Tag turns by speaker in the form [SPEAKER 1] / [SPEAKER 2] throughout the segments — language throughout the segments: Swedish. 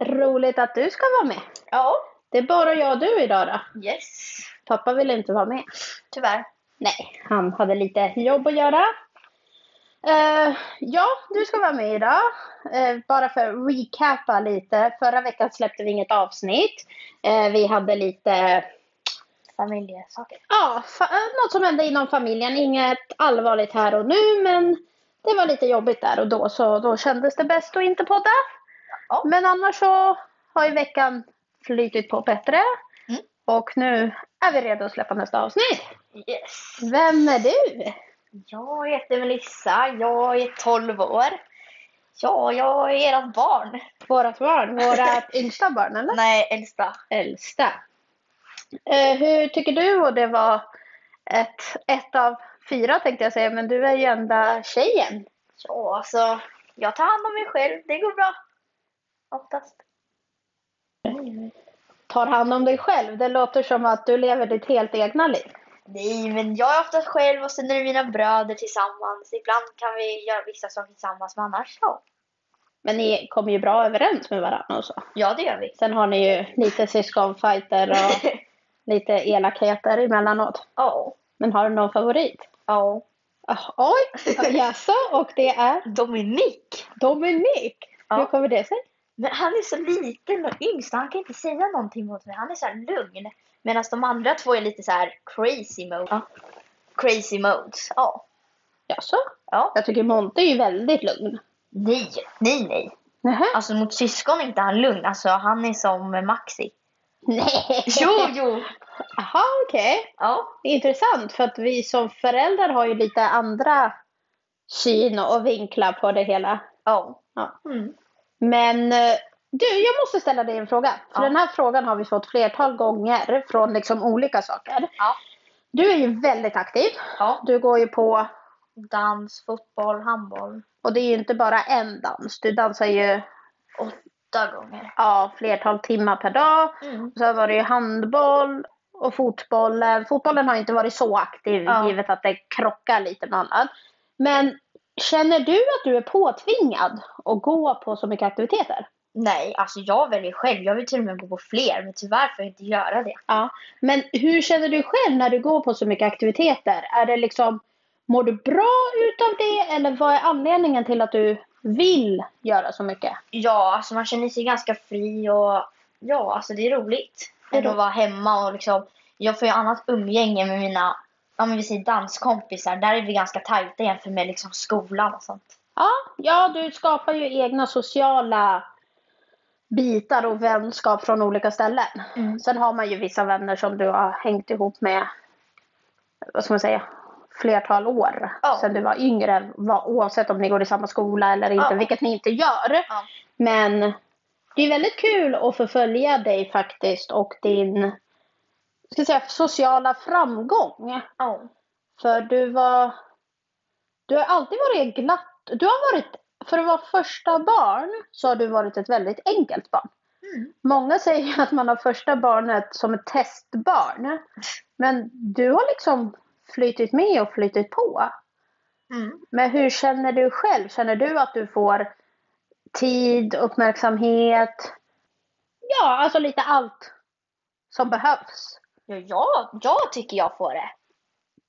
[SPEAKER 1] Roligt att du ska vara med.
[SPEAKER 2] Ja,
[SPEAKER 1] Det är bara jag och du idag då.
[SPEAKER 2] yes.
[SPEAKER 1] Pappa ville inte vara med.
[SPEAKER 2] Tyvärr.
[SPEAKER 1] Nej, han hade lite jobb att göra. Eh, ja, du ska vara med idag. Eh, bara för att recapa lite. Förra veckan släppte vi inget avsnitt. Eh, vi hade lite
[SPEAKER 2] Familjesaker.
[SPEAKER 1] Ja, fa- eh, något som hände inom familjen. Inget allvarligt här och nu, men det var lite jobbigt där och då, så då kändes det bäst att inte podda.
[SPEAKER 2] Ja.
[SPEAKER 1] Men annars så har ju veckan flytit på bättre
[SPEAKER 2] Mm.
[SPEAKER 1] och nu är vi redo att släppa nästa avsnitt.
[SPEAKER 2] Yes.
[SPEAKER 1] Vem är du?
[SPEAKER 2] Jag heter Melissa, jag är 12 år. Ja, jag är ert barn.
[SPEAKER 1] Vårat barn, vårat yngsta barn eller?
[SPEAKER 2] Nej, äldsta.
[SPEAKER 1] Äldsta. Eh, hur tycker du och det var ett, ett av fyra tänkte jag säga, men du är ju enda tjejen.
[SPEAKER 2] Ja, alltså. Jag tar hand om mig själv, det går bra. Oftast.
[SPEAKER 1] tar hand om dig själv. Det låter som att du lever ditt helt egna liv.
[SPEAKER 2] Nej, men jag är oftast själv och sen är det mina bröder tillsammans. Ibland kan vi göra vissa saker tillsammans, men annars ja.
[SPEAKER 1] Men ni kommer ju bra överens med varandra och så.
[SPEAKER 2] Ja, det gör vi.
[SPEAKER 1] Sen har ni ju lite syskonfighter och lite elakheter emellanåt.
[SPEAKER 2] Ja.
[SPEAKER 1] Men har du någon favorit?
[SPEAKER 2] Ja.
[SPEAKER 1] Ah, Oj, jaså? Och det är
[SPEAKER 2] Dominik!
[SPEAKER 1] Dominik.
[SPEAKER 2] Ja.
[SPEAKER 1] Hur kommer det sig?
[SPEAKER 2] Men han är så liten och yngst, han kan inte säga någonting mot mig. Han är så här lugn. Medan de andra två är lite så här crazy mode.
[SPEAKER 1] Ja.
[SPEAKER 2] Crazy modes, ja.
[SPEAKER 1] Jaså?
[SPEAKER 2] ja.
[SPEAKER 1] Jag tycker Monte är ju väldigt lugn.
[SPEAKER 2] Nej, nej, nej.
[SPEAKER 1] Nähä?
[SPEAKER 2] Alltså mot syskon är inte han lugn. Alltså han är som Maxi.
[SPEAKER 1] Nej.
[SPEAKER 2] Jo, jo.
[SPEAKER 1] Jaha, okej.
[SPEAKER 2] Ja,
[SPEAKER 1] Intressant, för att vi som föräldrar har ju lite andra syn och vinklar på det hela.
[SPEAKER 2] ja.
[SPEAKER 1] Ja.
[SPEAKER 2] Mm.
[SPEAKER 1] Men eh, du, jag måste ställa dig en fråga. För
[SPEAKER 2] Ja.
[SPEAKER 1] den här frågan har vi fått flertal gånger från liksom olika saker.
[SPEAKER 2] Ja.
[SPEAKER 1] Du är ju väldigt aktiv.
[SPEAKER 2] ja.
[SPEAKER 1] Du går ju på,
[SPEAKER 2] Dans, fotboll, handboll.
[SPEAKER 1] och det är ju inte bara en dans. Du dansar ju
[SPEAKER 2] Åtta gånger.
[SPEAKER 1] ja, flertal timmar per dag.
[SPEAKER 2] Mm.
[SPEAKER 1] Sen var det ju handboll och fotbollen. Fotbollen har ju inte varit så aktiv
[SPEAKER 2] Ja.
[SPEAKER 1] givet att det krockar lite med annat. Men känner du att du är påtvingad att gå på så mycket aktiviteter?
[SPEAKER 2] Nej, alltså jag väljer själv. Jag vill till och med gå på fler, men tyvärr får jag inte göra det.
[SPEAKER 1] Ja, men hur känner du själv när du går på så mycket aktiviteter? Är det liksom, mår du bra utav det eller vad är anledningen till att du vill göra så mycket?
[SPEAKER 2] Ja, alltså man känner sig ganska fri och ja, alltså det är roligt.
[SPEAKER 1] Det är
[SPEAKER 2] Än att
[SPEAKER 1] roligt.
[SPEAKER 2] vara hemma och liksom, jag får ju annat umgänge med mina, ja men vi säger danskompisar. Där är vi ganska tajta jämfört med liksom skolan och sånt.
[SPEAKER 1] Ja, ja du skapar ju egna sociala bitar och vänskap från olika ställen.
[SPEAKER 2] Mm.
[SPEAKER 1] Sen har man ju vissa vänner som du har hängt ihop med, vad ska man säga, flertal år
[SPEAKER 2] Ja.
[SPEAKER 1] sen du var yngre. va- Oavsett om ni går i samma skola eller inte,
[SPEAKER 2] Ja.
[SPEAKER 1] vilket ni inte gör.
[SPEAKER 2] Ja.
[SPEAKER 1] Men det är väldigt kul att förfölja dig faktiskt och din ska jag säga, sociala framgång.
[SPEAKER 2] Ja.
[SPEAKER 1] För du var... Du har alltid varit glatt. Du har varit... För att vara första barn så har du varit ett väldigt enkelt barn.
[SPEAKER 2] Mm.
[SPEAKER 1] Många säger ju att man har första barnet som ett testbarn. Men du har liksom flytit med och flytit på.
[SPEAKER 2] Mm.
[SPEAKER 1] Men hur känner du själv? Känner du att du får tid, uppmärksamhet? Ja, alltså lite allt som behövs.
[SPEAKER 2] Ja, jag, jag tycker jag får det.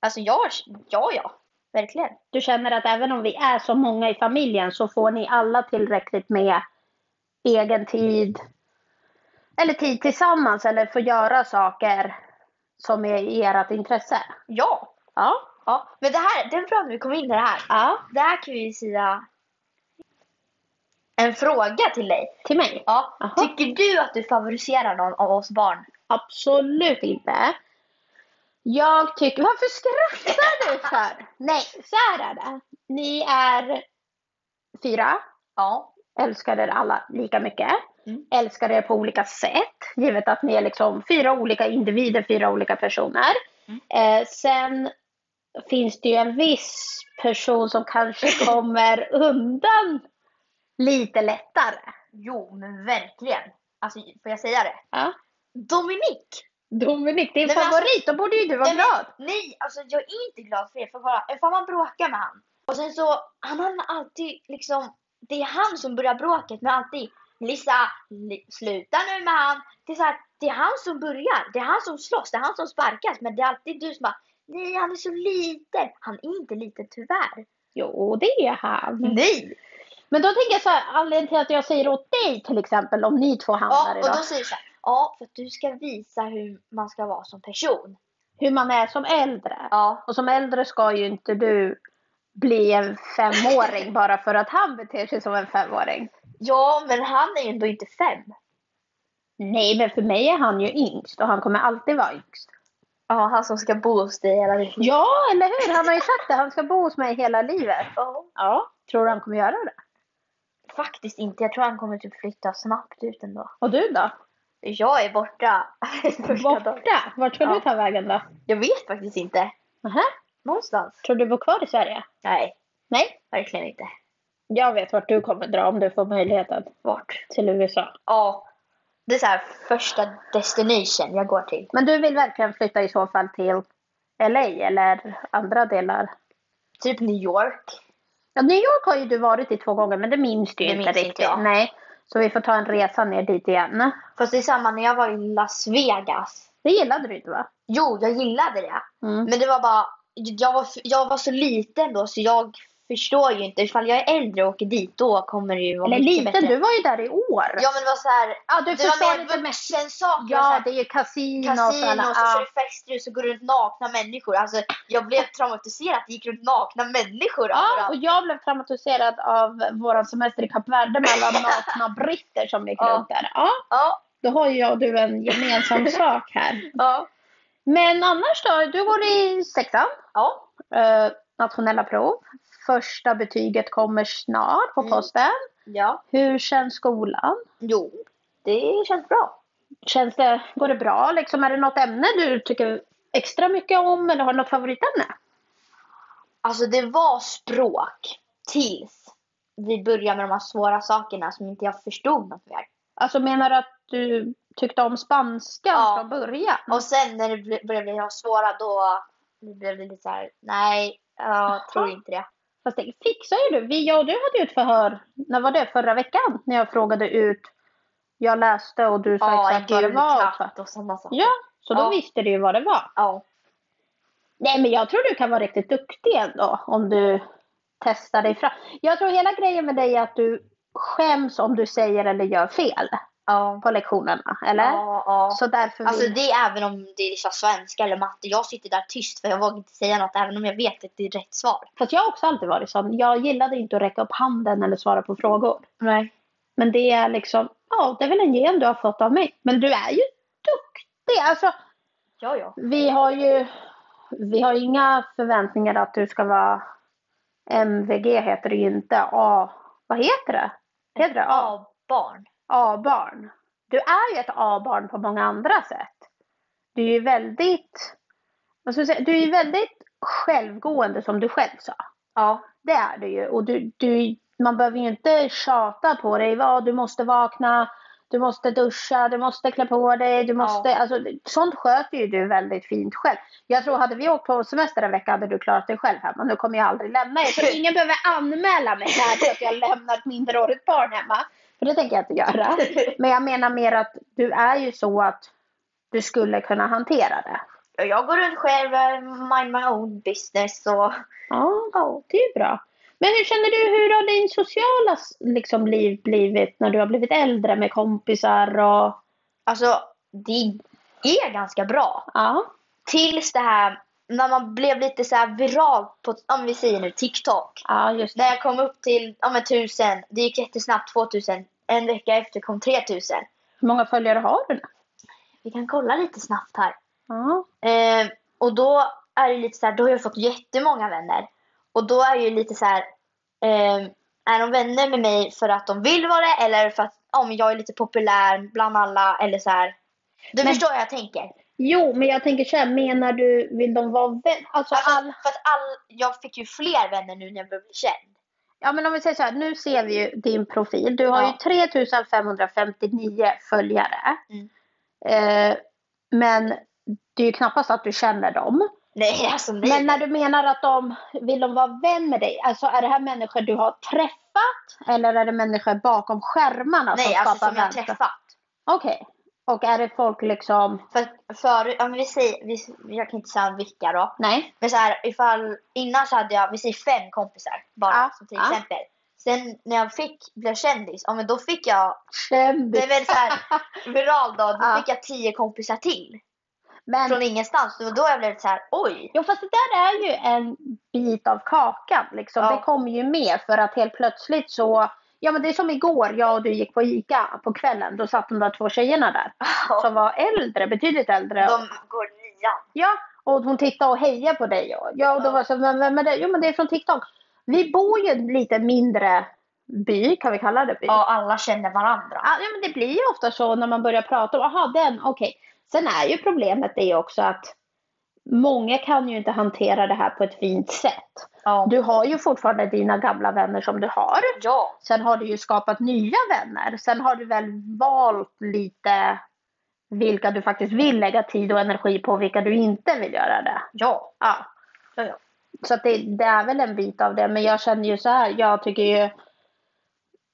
[SPEAKER 2] Alltså jag, ja, ja. Verkligen.
[SPEAKER 1] Du känner att även om vi är så många i familjen så får ni alla tillräckligt med egen tid eller tid tillsammans eller får göra saker som är i ert intresse?
[SPEAKER 2] Ja.
[SPEAKER 1] Ja.
[SPEAKER 2] ja. Men det här, det är bra att vi kom in på det här.
[SPEAKER 1] ja.
[SPEAKER 2] Det här kan vi säga en fråga till dig.
[SPEAKER 1] Till mig?
[SPEAKER 2] Ja.
[SPEAKER 1] Jaha.
[SPEAKER 2] Tycker du att du favoriserar någon av oss barn?
[SPEAKER 1] Absolut inte. Jag tycker... Varför skrattar du för? Nej, så här är det. Ni är fyra.
[SPEAKER 2] Ja.
[SPEAKER 1] Älskar er alla lika mycket.
[SPEAKER 2] Mm.
[SPEAKER 1] Älskar er på olika sätt. Givet att ni är liksom fyra olika individer, fyra olika personer. Eh, sen finns det ju en viss person som kanske kommer undan lite lättare.
[SPEAKER 2] Jo, men verkligen. Alltså, får jag säga det?
[SPEAKER 1] Ja.
[SPEAKER 2] Dominik!
[SPEAKER 1] Dominic, din
[SPEAKER 2] Nej, men
[SPEAKER 1] favorit, då borde ju du vara
[SPEAKER 2] Nej, men-
[SPEAKER 1] glad.
[SPEAKER 2] Nej, alltså jag är inte glad för det. För bara, ifall man bråkar med han. Och sen så, han har alltid liksom, det är han som börjar bråket men alltid Lisa, li- sluta nu med han. Det är, så här, det är han som börjar, det är han som slåss, det är han som sparkas. Men det är alltid du som bara, nej han är så liten. Han är inte liten tyvärr.
[SPEAKER 1] Jo, det är han.
[SPEAKER 2] Nej!
[SPEAKER 1] Men då tänker jag så här, anledningen till att jag säger åt dig till exempel, om ni två
[SPEAKER 2] Ja,
[SPEAKER 1] handlar
[SPEAKER 2] och
[SPEAKER 1] idag,
[SPEAKER 2] då säger du så här, ja för att du ska visa hur man ska vara som person.
[SPEAKER 1] hur man är som äldre.
[SPEAKER 2] Ja,
[SPEAKER 1] Och som äldre ska ju inte du bli en femåring bara för att han beter sig som en femåring.
[SPEAKER 2] ja men han är ju ändå inte fem.
[SPEAKER 1] Nej, men för mig är han ju yngst och han kommer alltid vara yngst.
[SPEAKER 2] Ja, han som ska bo hos dig hela tiden.
[SPEAKER 1] Ja, eller hur? Han har ju sagt det, han ska bo hos mig hela livet.
[SPEAKER 2] Ja.
[SPEAKER 1] Ja, tror du han kommer göra det?
[SPEAKER 2] Faktiskt inte. Jag tror han kommer typ flytta snabbt ut ändå.
[SPEAKER 1] Och du då?
[SPEAKER 2] Jag är borta. Första dagen.
[SPEAKER 1] Borta? Vart ska
[SPEAKER 2] Ja.
[SPEAKER 1] du ta vägen då?
[SPEAKER 2] Jag vet faktiskt inte.
[SPEAKER 1] Nähä?
[SPEAKER 2] Någonstans.
[SPEAKER 1] Tror du bor kvar i Sverige?
[SPEAKER 2] Nej,
[SPEAKER 1] Nej.
[SPEAKER 2] verkligen inte.
[SPEAKER 1] Jag vet vart du kommer dra om du får möjligheten.
[SPEAKER 2] Vart?
[SPEAKER 1] Till USA.
[SPEAKER 2] Ja. Det är så här första destination jag går till.
[SPEAKER 1] Men du vill verkligen flytta i så fall till LA eller andra delar?
[SPEAKER 2] Typ New York.
[SPEAKER 1] Ja, New York har ju du varit i två gånger men det minns du ju
[SPEAKER 2] Det
[SPEAKER 1] inte
[SPEAKER 2] minns inte
[SPEAKER 1] riktigt.
[SPEAKER 2] jag.
[SPEAKER 1] Nej. Så vi får ta en resa ner dit igen.
[SPEAKER 2] Fast det är samma när jag var i Las Vegas.
[SPEAKER 1] Det gillade du inte va?
[SPEAKER 2] Jo, jag gillade det.
[SPEAKER 1] Mm.
[SPEAKER 2] Men det var bara, jag var, jag var så liten då så jag förstår ju inte. Ifall jag är äldre och åker dit då kommer det ju vara
[SPEAKER 1] Eller
[SPEAKER 2] mycket
[SPEAKER 1] liten,
[SPEAKER 2] bättre.
[SPEAKER 1] du var ju där i år.
[SPEAKER 2] Ja men det var så här,
[SPEAKER 1] Ja, du
[SPEAKER 2] det var
[SPEAKER 1] förstår
[SPEAKER 2] mer
[SPEAKER 1] inte mest.
[SPEAKER 2] vuxensaker. så här-
[SPEAKER 1] Ja, det är ju kasino och så
[SPEAKER 2] kasino
[SPEAKER 1] alla.
[SPEAKER 2] och så kör
[SPEAKER 1] Ja.
[SPEAKER 2] du festhus och går runt nakna människor. Alltså, jag blev traumatiserad. Det gick runt nakna människor
[SPEAKER 1] Ja, och
[SPEAKER 2] överallt.
[SPEAKER 1] jag blev traumatiserad av våran semester i Kap Verde med alla nakna britter som gick
[SPEAKER 2] Ja.
[SPEAKER 1] runt där. Ja,
[SPEAKER 2] Ja,
[SPEAKER 1] då har ju jag och du en gemensam sak här.
[SPEAKER 2] ja,
[SPEAKER 1] Men annars då? Du går i sexan,
[SPEAKER 2] ja.
[SPEAKER 1] eh, nationella prov. Första betyget kommer snart på
[SPEAKER 2] Mm.
[SPEAKER 1] posten.
[SPEAKER 2] ja.
[SPEAKER 1] Hur känns skolan?
[SPEAKER 2] Jo, det känns bra.
[SPEAKER 1] Känns det, går det bra? Liksom, är det något ämne du tycker extra mycket om eller har du något favoritämne?
[SPEAKER 2] Alltså det var språk tills vi började med de här svåra sakerna som inte jag förstod något mer.
[SPEAKER 1] Alltså menar du att du tyckte om spanska
[SPEAKER 2] Ja.
[SPEAKER 1] från början?
[SPEAKER 2] Och sen när det ble- började bli de svåra då blev det lite så här, nej, jag tror
[SPEAKER 1] Ah.
[SPEAKER 2] inte det.
[SPEAKER 1] Fast det fixar ju du. Vi, jag och du hade ju ett förhör, när var det? Förra veckan? När jag frågade ut, jag läste och du sa
[SPEAKER 2] Ja, en
[SPEAKER 1] exakt vad det
[SPEAKER 2] gul
[SPEAKER 1] var.
[SPEAKER 2] katt och sådana saker.
[SPEAKER 1] Ja, så då
[SPEAKER 2] Ja.
[SPEAKER 1] visste du ju vad det var.
[SPEAKER 2] Ja,
[SPEAKER 1] Nej, men jag tror du kan vara riktigt duktig ändå om du testar dig fram. Jag tror hela grejen med dig är att du skäms om du säger eller gör fel
[SPEAKER 2] ja,
[SPEAKER 1] på lektionerna, eller?
[SPEAKER 2] ja. ja.
[SPEAKER 1] Så därför
[SPEAKER 2] Alltså
[SPEAKER 1] vill...
[SPEAKER 2] det är även om det är liksom svenska eller matte. Jag sitter där tyst för jag vågar inte säga något även om jag vet att det är rätt svar.
[SPEAKER 1] Fast jag har också alltid varit sån. Jag gillade inte att räcka upp handen eller svara på frågor.
[SPEAKER 2] Nej.
[SPEAKER 1] Men det är liksom, ja, det är väl en gen du har fått av mig. Men du är ju duktig. Alltså,
[SPEAKER 2] Ja, ja.
[SPEAKER 1] vi har ju vi har inga förväntningar att du ska vara MVG heter det ju inte. A, vad heter det? Heter det A?
[SPEAKER 2] A-barn.
[SPEAKER 1] A-barn. Du är ju ett A-barn på många andra sätt. Du är ju väldigt, vad ska jag säga, du är ju väldigt självgående som du själv sa.
[SPEAKER 2] Ja.
[SPEAKER 1] Det är du ju. Och du, du, man behöver ju inte tjata på dig. Va, du måste vakna, du måste duscha, du måste klä på dig. Du måste, alltså, sånt sköter ju du väldigt fint själv. Jag tror hade vi åkt på semester en vecka hade du klarat dig själv hemma. Nu kommer jag aldrig lämna er. Så ingen behöver anmäla mig här för att jag lämnar ett minderårigt barn hemma. För det tänker jag inte göra. Men jag menar mer att du är ju så att du skulle kunna hantera det.
[SPEAKER 2] Och Jag går runt själv, eh, mind my own business och
[SPEAKER 1] Ja, ja, det är bra. Men hur känner du, hur har din sociala s- liksom, liv blivit när du har blivit äldre med kompisar och...
[SPEAKER 2] alltså det är ganska bra.
[SPEAKER 1] Ja,
[SPEAKER 2] Tills det här när man blev lite så här viral på, om vi säger nu TikTok.
[SPEAKER 1] ja just det.
[SPEAKER 2] När jag kom upp till, ja men 1000, det gick jättesnabbt, 2000. En vecka efter kom 3000.
[SPEAKER 1] Hur många följare har du nu?
[SPEAKER 2] Vi kan kolla lite snabbt här.
[SPEAKER 1] Ja,
[SPEAKER 2] Eh, och då är det lite så här, då har jag fått jättemånga vänner. Och då är det ju lite så här, eh, är de vänner med mig för att de vill vara det eller för att om jag är lite populär bland alla eller så här. Du
[SPEAKER 1] Men-
[SPEAKER 2] förstår vad jag tänker.
[SPEAKER 1] Jo, men jag tänker så här, menar du, vill de vara vän? Alltså,
[SPEAKER 2] Alltså,
[SPEAKER 1] all...
[SPEAKER 2] För att all, jag fick ju fler vänner nu när jag blev känd.
[SPEAKER 1] Ja, men om vi säger så här, nu ser vi ju din profil. Du har
[SPEAKER 2] Ja.
[SPEAKER 1] ju 3559 följare.
[SPEAKER 2] Mm.
[SPEAKER 1] Eh, men det är ju knappast att du känner dem.
[SPEAKER 2] Nej, alltså nej.
[SPEAKER 1] Men när du menar att de vill de vara vän med dig, alltså är det här människor du har träffat eller är det människor bakom skärmarna
[SPEAKER 2] nej,
[SPEAKER 1] som
[SPEAKER 2] alltså
[SPEAKER 1] skapar
[SPEAKER 2] som jag har
[SPEAKER 1] vänskap?
[SPEAKER 2] träffat.
[SPEAKER 1] Okej. Och är det folk liksom,
[SPEAKER 2] För, för, ja, men vi säger, vi, jag kan inte säga vilka då.
[SPEAKER 1] nej?
[SPEAKER 2] Men så här, ifall, innan så hade jag, vi säger fem kompisar bara
[SPEAKER 1] Ja,
[SPEAKER 2] som till
[SPEAKER 1] ja.
[SPEAKER 2] exempel. Sen när jag fick, blev kändis, ja men då fick jag, det är
[SPEAKER 1] Kändis.
[SPEAKER 2] väl så här viral då, då
[SPEAKER 1] Ja.
[SPEAKER 2] fick jag tio kompisar till.
[SPEAKER 1] Men,
[SPEAKER 2] Från ingenstans. Det var då jag blev så här, oj.
[SPEAKER 1] jo fast det där är ju en bit av kakan liksom.
[SPEAKER 2] Ja.
[SPEAKER 1] Det kommer ju med för att helt plötsligt så, ja men det är som igår, jag och du gick på ICA på kvällen, då satt de där två tjejerna där. Som var äldre, betydligt äldre.
[SPEAKER 2] De går nian.
[SPEAKER 1] Ja, och hon tittade och hejade på dig. Och, ja, och då var jag så, men vem är det? Jo, men det är från TikTok. Vi bor ju i en lite mindre by, kan vi kalla det by?
[SPEAKER 2] Ja, alla känner varandra.
[SPEAKER 1] Ja, men det blir ju ofta så när man börjar prata om, aha, den, okej. Sen är ju problemet det också att många kan ju inte hantera det här på ett fint sätt.
[SPEAKER 2] Ja.
[SPEAKER 1] Du har ju fortfarande dina gamla vänner som du har.
[SPEAKER 2] ja.
[SPEAKER 1] Sen har du ju skapat nya vänner. Sen har du väl valt lite vilka du faktiskt vill lägga tid och energi på och vilka du inte vill göra det.
[SPEAKER 2] Ja.
[SPEAKER 1] Ja.
[SPEAKER 2] Ja, ja.
[SPEAKER 1] Så att det, det är väl en bit av det. Men jag känner ju så här, jag tycker ju...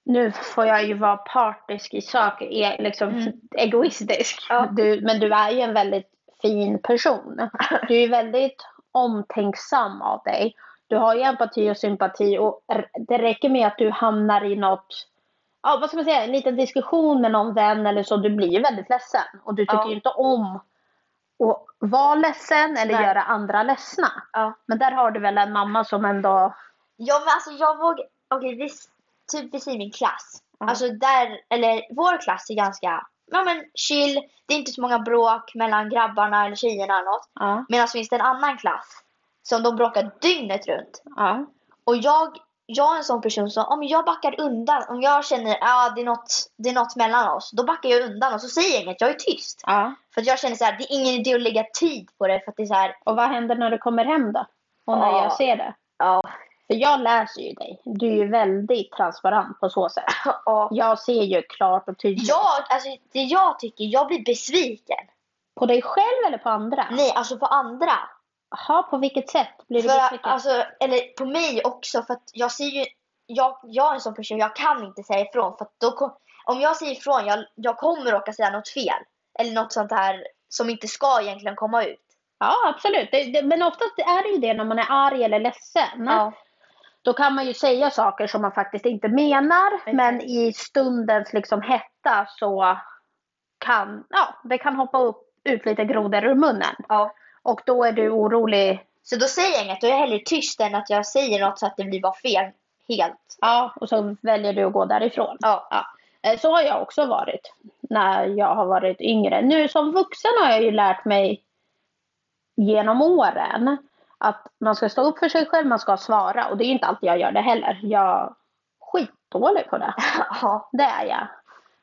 [SPEAKER 1] Nu får jag ju vara partisk i saker, är liksom
[SPEAKER 2] Mm.
[SPEAKER 1] egoistisk.
[SPEAKER 2] Ja.
[SPEAKER 1] Du, men du är ju en väldigt fin person. Du är ju väldigt omtänksam av dig. Du har ju empati och sympati och r- det räcker med att du hamnar i något, ja vad ska man säga, en liten diskussion med någon vän eller så, du blir ju väldigt ledsen. Och du tycker
[SPEAKER 2] Ja.
[SPEAKER 1] ju inte om att vara ledsen eller
[SPEAKER 2] Nej.
[SPEAKER 1] göra andra ledsna.
[SPEAKER 2] Ja.
[SPEAKER 1] Men där har du väl en mamma som ändå...
[SPEAKER 2] Ja men alltså jag vågar, okej vi, s- typ vi säger min klass.
[SPEAKER 1] Mm.
[SPEAKER 2] Alltså där, eller vår klass är ganska, ja men chill. Det är inte så många bråk mellan grabbarna eller tjejerna eller något.
[SPEAKER 1] Ja,
[SPEAKER 2] Medan finns det en annan klass som de bråkar dygnet runt.
[SPEAKER 1] ja,
[SPEAKER 2] Och jag, jag är en sån person som om jag backar undan, om jag känner att ah, det, är något- det är något mellan oss, då backar jag undan och så säger jag inget, jag är tyst.
[SPEAKER 1] ja.
[SPEAKER 2] För att jag känner så här, det är ingen idé att lägga tid på det för att det är så här,
[SPEAKER 1] Och vad händer när du kommer hem då? Och när
[SPEAKER 2] Ja.
[SPEAKER 1] jag ser det?
[SPEAKER 2] ja,
[SPEAKER 1] För jag läser ju dig. Du är ju väldigt transparent på så sätt.
[SPEAKER 2] ja.
[SPEAKER 1] Jag ser ju klart och tydligt.
[SPEAKER 2] Jag, alltså det jag tycker, jag blir besviken.
[SPEAKER 1] På dig själv eller på andra?
[SPEAKER 2] Nej, alltså på andra.
[SPEAKER 1] Jaha, på vilket sätt blir du
[SPEAKER 2] För,
[SPEAKER 1] besviken?
[SPEAKER 2] alltså, eller på mig också för att jag ser ju, jag, jag är en sån person, jag kan inte säga ifrån för att då, kom- om jag säger ifrån, jag, jag kommer råka säga något fel. Eller något sånt här som inte ska egentligen komma ut.
[SPEAKER 1] Ja, absolut. Det, det, men oftast är det ju det när man är arg eller ledsen.
[SPEAKER 2] Ja.
[SPEAKER 1] Då kan man ju säga saker som man faktiskt inte menar.
[SPEAKER 2] Exakt.
[SPEAKER 1] Men i stundens liksom hetta så kan ja, det kan hoppa upp, ut lite grodor ur munnen.
[SPEAKER 2] Ja.
[SPEAKER 1] Och då är du orolig.
[SPEAKER 2] Så då säger jag inget, då är jag hellre tyst än att jag säger något så att det blir bara fel. Helt.
[SPEAKER 1] Ja. Och så väljer du att gå därifrån.
[SPEAKER 2] Ja.
[SPEAKER 1] Eh, Så har jag också varit när jag har varit yngre. Nu som vuxen har jag ju lärt mig genom åren att man ska stå upp för sig själv, man ska svara. Och det är ju inte alltid jag gör det heller. Jag är skitdålig på det.
[SPEAKER 2] ja.
[SPEAKER 1] Det är jag.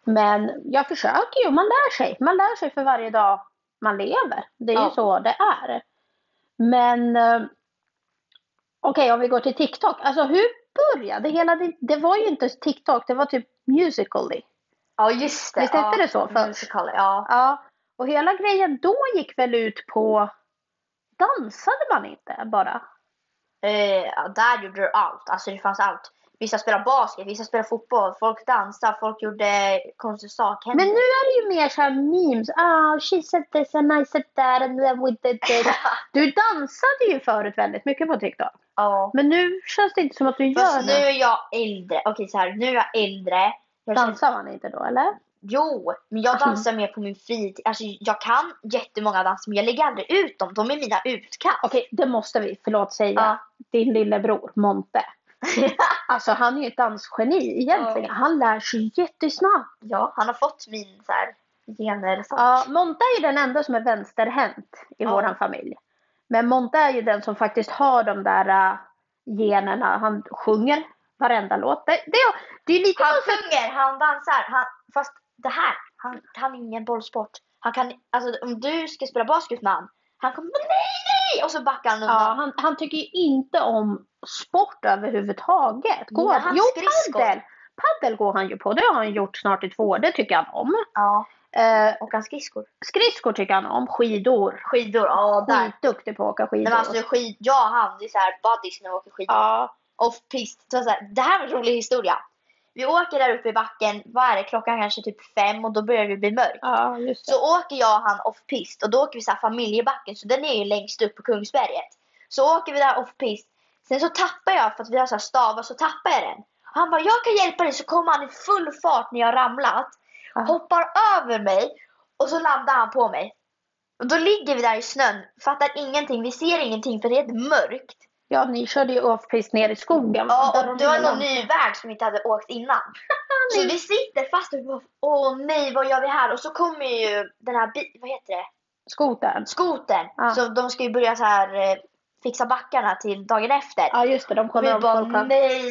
[SPEAKER 1] Men jag försöker ju, man lär sig. Man lär sig för varje dag man lever. Det är
[SPEAKER 2] Ja.
[SPEAKER 1] ju så det är. Men eh, okej, om vi går till TikTok. Alltså hur började hela det? Det var ju inte TikTok, det var typ Musical.ly.
[SPEAKER 2] ja, just det.
[SPEAKER 1] Visst hette
[SPEAKER 2] ja.
[SPEAKER 1] det så först?
[SPEAKER 2] Musical.ly, Ja.
[SPEAKER 1] Ja, och hela grejen då gick väl ut på dansade man inte bara?
[SPEAKER 2] Eh, ja, där gjorde du allt. Alltså det fanns allt. Vissa spelar basket, vissa spelar fotboll, folk dansar, folk gjorde konstiga saker.
[SPEAKER 1] Men nu är det ju mer så här memes. Ah, she said this and I said that and then we did this. Du dansade ju förut väldigt mycket på TikTok.
[SPEAKER 2] Ja.
[SPEAKER 1] Men nu känns det inte som att du gör
[SPEAKER 2] Fast nu
[SPEAKER 1] det.
[SPEAKER 2] är jag äldre. Okej så här, nu är jag äldre. Jag känner-
[SPEAKER 1] Dansar man inte då eller?
[SPEAKER 2] Jo, men jag dansar mer på min fritid. Alltså, jag kan jättemånga danser men jag lägger aldrig ut dem. De är mina utkast.
[SPEAKER 1] Okej, det måste vi, förlåt säga.
[SPEAKER 2] Ja.
[SPEAKER 1] Din lillebror Monte. Alltså han är ju ett dansgeni egentligen.
[SPEAKER 2] Ja.
[SPEAKER 1] Han lär sig jättesnabbt.
[SPEAKER 2] Ja, han har fått min så här, gener. Så.
[SPEAKER 1] Ja, Monta är ju den enda som är vänsterhänt i
[SPEAKER 2] Ja.
[SPEAKER 1] våran familj. Men Monta är ju den som faktiskt har de där äh, generna. Han sjunger varenda låt. Det, det, är- det är ju lite...
[SPEAKER 2] Han sjunger, han dansar. Han, fast det här, han kan ingen bollsport. Han kan, alltså, om du ska spela basket med han, han kommer bara, nej, nej! Och så backar han
[SPEAKER 1] Ja,
[SPEAKER 2] undan.
[SPEAKER 1] han, han tycker ju inte om sport överhuvudtaget. Går,
[SPEAKER 2] Gillar han
[SPEAKER 1] jo,
[SPEAKER 2] skridskor?
[SPEAKER 1] paddel. Paddel går han ju på. Det har han gjort snart i två år. Det tycker han om.
[SPEAKER 2] Ja,
[SPEAKER 1] Eh,
[SPEAKER 2] och han skridskor.
[SPEAKER 1] skridskor tycker han om. Skidor.
[SPEAKER 2] Skidor, ja där.
[SPEAKER 1] Skitduktig på att åka
[SPEAKER 2] Nej,
[SPEAKER 1] skidor.
[SPEAKER 2] men alltså skid, jag och han, det är så här buddies när vi åker skidor.
[SPEAKER 1] ja.
[SPEAKER 2] off-pist. Så så här, det här var en rolig historia. Vi åker där uppe i backen, vad är det, klockan kanske typ fem och då börjar det bli mörkt.
[SPEAKER 1] ja, just det.
[SPEAKER 2] Så åker jag och han off-pist och då åker vi så här familjebacken så den är ju längst upp på Kungsberget. Så åker vi där off-pist. Sen så tappar jag för att vi har så här stavar så tappar jag den. Och han bara jag kan hjälpa dig så kommer han i full fart när jag ramlat.
[SPEAKER 1] Ja.
[SPEAKER 2] Hoppar över mig och så landar han på mig. Och då ligger vi där i snön, fattar ingenting, vi ser ingenting för det är helt mörkt.
[SPEAKER 1] Ja, ni körde ju off-pist ner i skogen.
[SPEAKER 2] Ja,
[SPEAKER 1] Där
[SPEAKER 2] och det var
[SPEAKER 1] ingen-
[SPEAKER 2] någon ny väg som vi inte hade åkt innan. Så vi sitter fast och vi bara, åh nej, vad gör vi här? Och så kommer ju den här, bi- vad heter det,
[SPEAKER 1] Skotern.
[SPEAKER 2] skoten.
[SPEAKER 1] Ja.
[SPEAKER 2] Så de ska ju börja så här eh, fixa backarna till dagen efter.
[SPEAKER 1] Ja, just det. De
[SPEAKER 2] och vi
[SPEAKER 1] kommer om
[SPEAKER 2] bara,
[SPEAKER 1] folk
[SPEAKER 2] nej,
[SPEAKER 1] har...
[SPEAKER 2] nej, nej,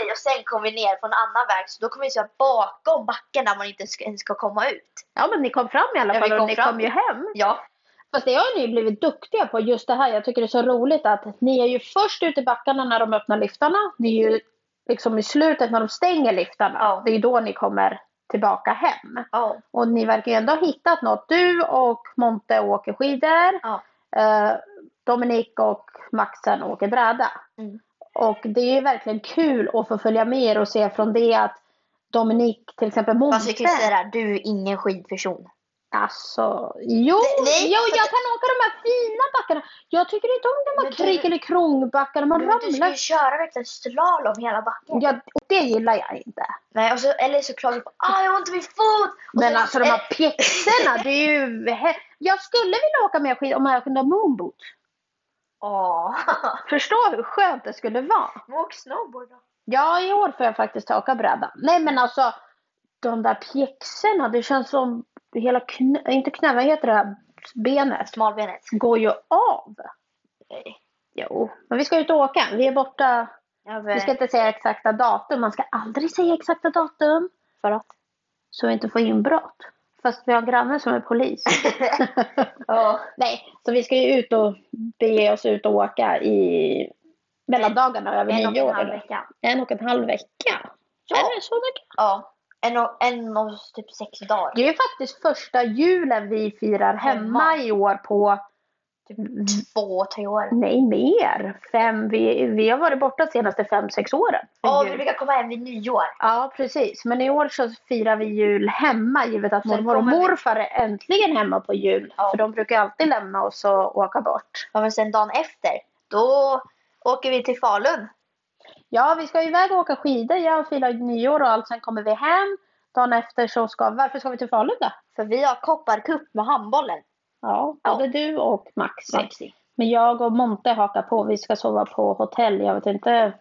[SPEAKER 2] nej. Och sen kom vi ner på en annan väg, så då kom vi så här bakom backen där man inte ska- ens ska komma ut.
[SPEAKER 1] Ja, men ni kom fram i alla
[SPEAKER 2] Ja,
[SPEAKER 1] fall
[SPEAKER 2] vi
[SPEAKER 1] och
[SPEAKER 2] kom
[SPEAKER 1] ni
[SPEAKER 2] fram.
[SPEAKER 1] kom ju hem.
[SPEAKER 2] Ja,
[SPEAKER 1] Fast det har ni ju blivit duktiga på, just det här. Jag tycker det är så roligt att ni är ju först ut i backarna när de öppnar liftarna. Ni är ju liksom i slutet när de stänger liftarna.
[SPEAKER 2] Ja.
[SPEAKER 1] Det är ju då ni kommer tillbaka hem.
[SPEAKER 2] ja,
[SPEAKER 1] Och ni verkar ju ändå ha hittat något. Du och Monte åker skidor.
[SPEAKER 2] ja.
[SPEAKER 1] Eh, Dominik och Maxen åker bräda.
[SPEAKER 2] Mm.
[SPEAKER 1] Och det är ju verkligen kul att få följa med er och se från det att Dominik, till exempel
[SPEAKER 2] Fast vi
[SPEAKER 1] Monte.
[SPEAKER 2] Alltså, kan ju säga det här, du är ingen skidperson.
[SPEAKER 1] Alltså, jo,
[SPEAKER 2] nej,
[SPEAKER 1] jo,
[SPEAKER 2] för
[SPEAKER 1] jag kan åka de här fina backarna. Jag tycker inte om de här
[SPEAKER 2] Men du-
[SPEAKER 1] kryk eller krångbackarna. Man
[SPEAKER 2] Men Du ska
[SPEAKER 1] ramlar.
[SPEAKER 2] ju köra verkligen slalom hela backen.
[SPEAKER 1] Ja, och det gillar jag inte.
[SPEAKER 2] Nej, och så, eller så klagar du på ah, jag har ont i min fot. Och
[SPEAKER 1] Men
[SPEAKER 2] sen-
[SPEAKER 1] alltså de här
[SPEAKER 2] eh,
[SPEAKER 1] pjäxorna, det är ju... he- Jag skulle vilja åka med skid om jag kunde ha moonboot.
[SPEAKER 2] Ja.
[SPEAKER 1] Förstå hur skönt det skulle vara.
[SPEAKER 2] Men Åk snowboard då.
[SPEAKER 1] Ja, i år får jag faktiskt åka bräda. Nej, men alltså de där pjäxorna, det känns som hela knä, inte knä, vad heter det här benet,
[SPEAKER 2] Smalbenet.
[SPEAKER 1] går ju av.
[SPEAKER 2] Nej.
[SPEAKER 1] Jo, men vi ska ut och åka. Vi är borta.
[SPEAKER 2] Jag
[SPEAKER 1] Vi ska inte säga exakta datum. Man ska aldrig säga exakta datum
[SPEAKER 2] för att.
[SPEAKER 1] så vi inte får inbrott. Fast vi har grannar som är polis.
[SPEAKER 2] Ja.
[SPEAKER 1] Nej, så vi ska ju ut och bege oss ut och åka i mellandagarna över
[SPEAKER 2] En och en
[SPEAKER 1] nyår.
[SPEAKER 2] halv
[SPEAKER 1] eller?
[SPEAKER 2] vecka.
[SPEAKER 1] En och en halv vecka.
[SPEAKER 2] Ja.
[SPEAKER 1] Är det så mycket?
[SPEAKER 2] Ja. En och, en och typ sex dagar.
[SPEAKER 1] Det är ju faktiskt första julen vi firar hemma
[SPEAKER 2] Hemma.
[SPEAKER 1] i år på,
[SPEAKER 2] Två, tre år.
[SPEAKER 1] nej mer, fem, vi, vi har varit borta de senaste fem, sex åren.
[SPEAKER 2] Ja,
[SPEAKER 1] Jul.
[SPEAKER 2] vi brukar komma hem vid nyår.
[SPEAKER 1] ja, precis. Men i år så firar vi jul hemma givet att
[SPEAKER 2] Sen
[SPEAKER 1] mormor och
[SPEAKER 2] kommer vi-
[SPEAKER 1] morfar är äntligen hemma på jul.
[SPEAKER 2] Ja.
[SPEAKER 1] För de brukar alltid lämna oss och åka bort.
[SPEAKER 2] Ja, men sen dagen efter, då åker vi till Falun.
[SPEAKER 1] Ja, vi ska iväg och åka skidor, jag firar nyår och allt, sen kommer vi hem. Dagen efter så ska, varför ska vi till Falun då?
[SPEAKER 2] För vi har kopparcup med handbollen.
[SPEAKER 1] Ja,
[SPEAKER 2] Ja.
[SPEAKER 1] både du och Maxi.
[SPEAKER 2] Maxi.
[SPEAKER 1] Men jag och Monte hakar på. Vi ska sova på hotell. Jag vet inte.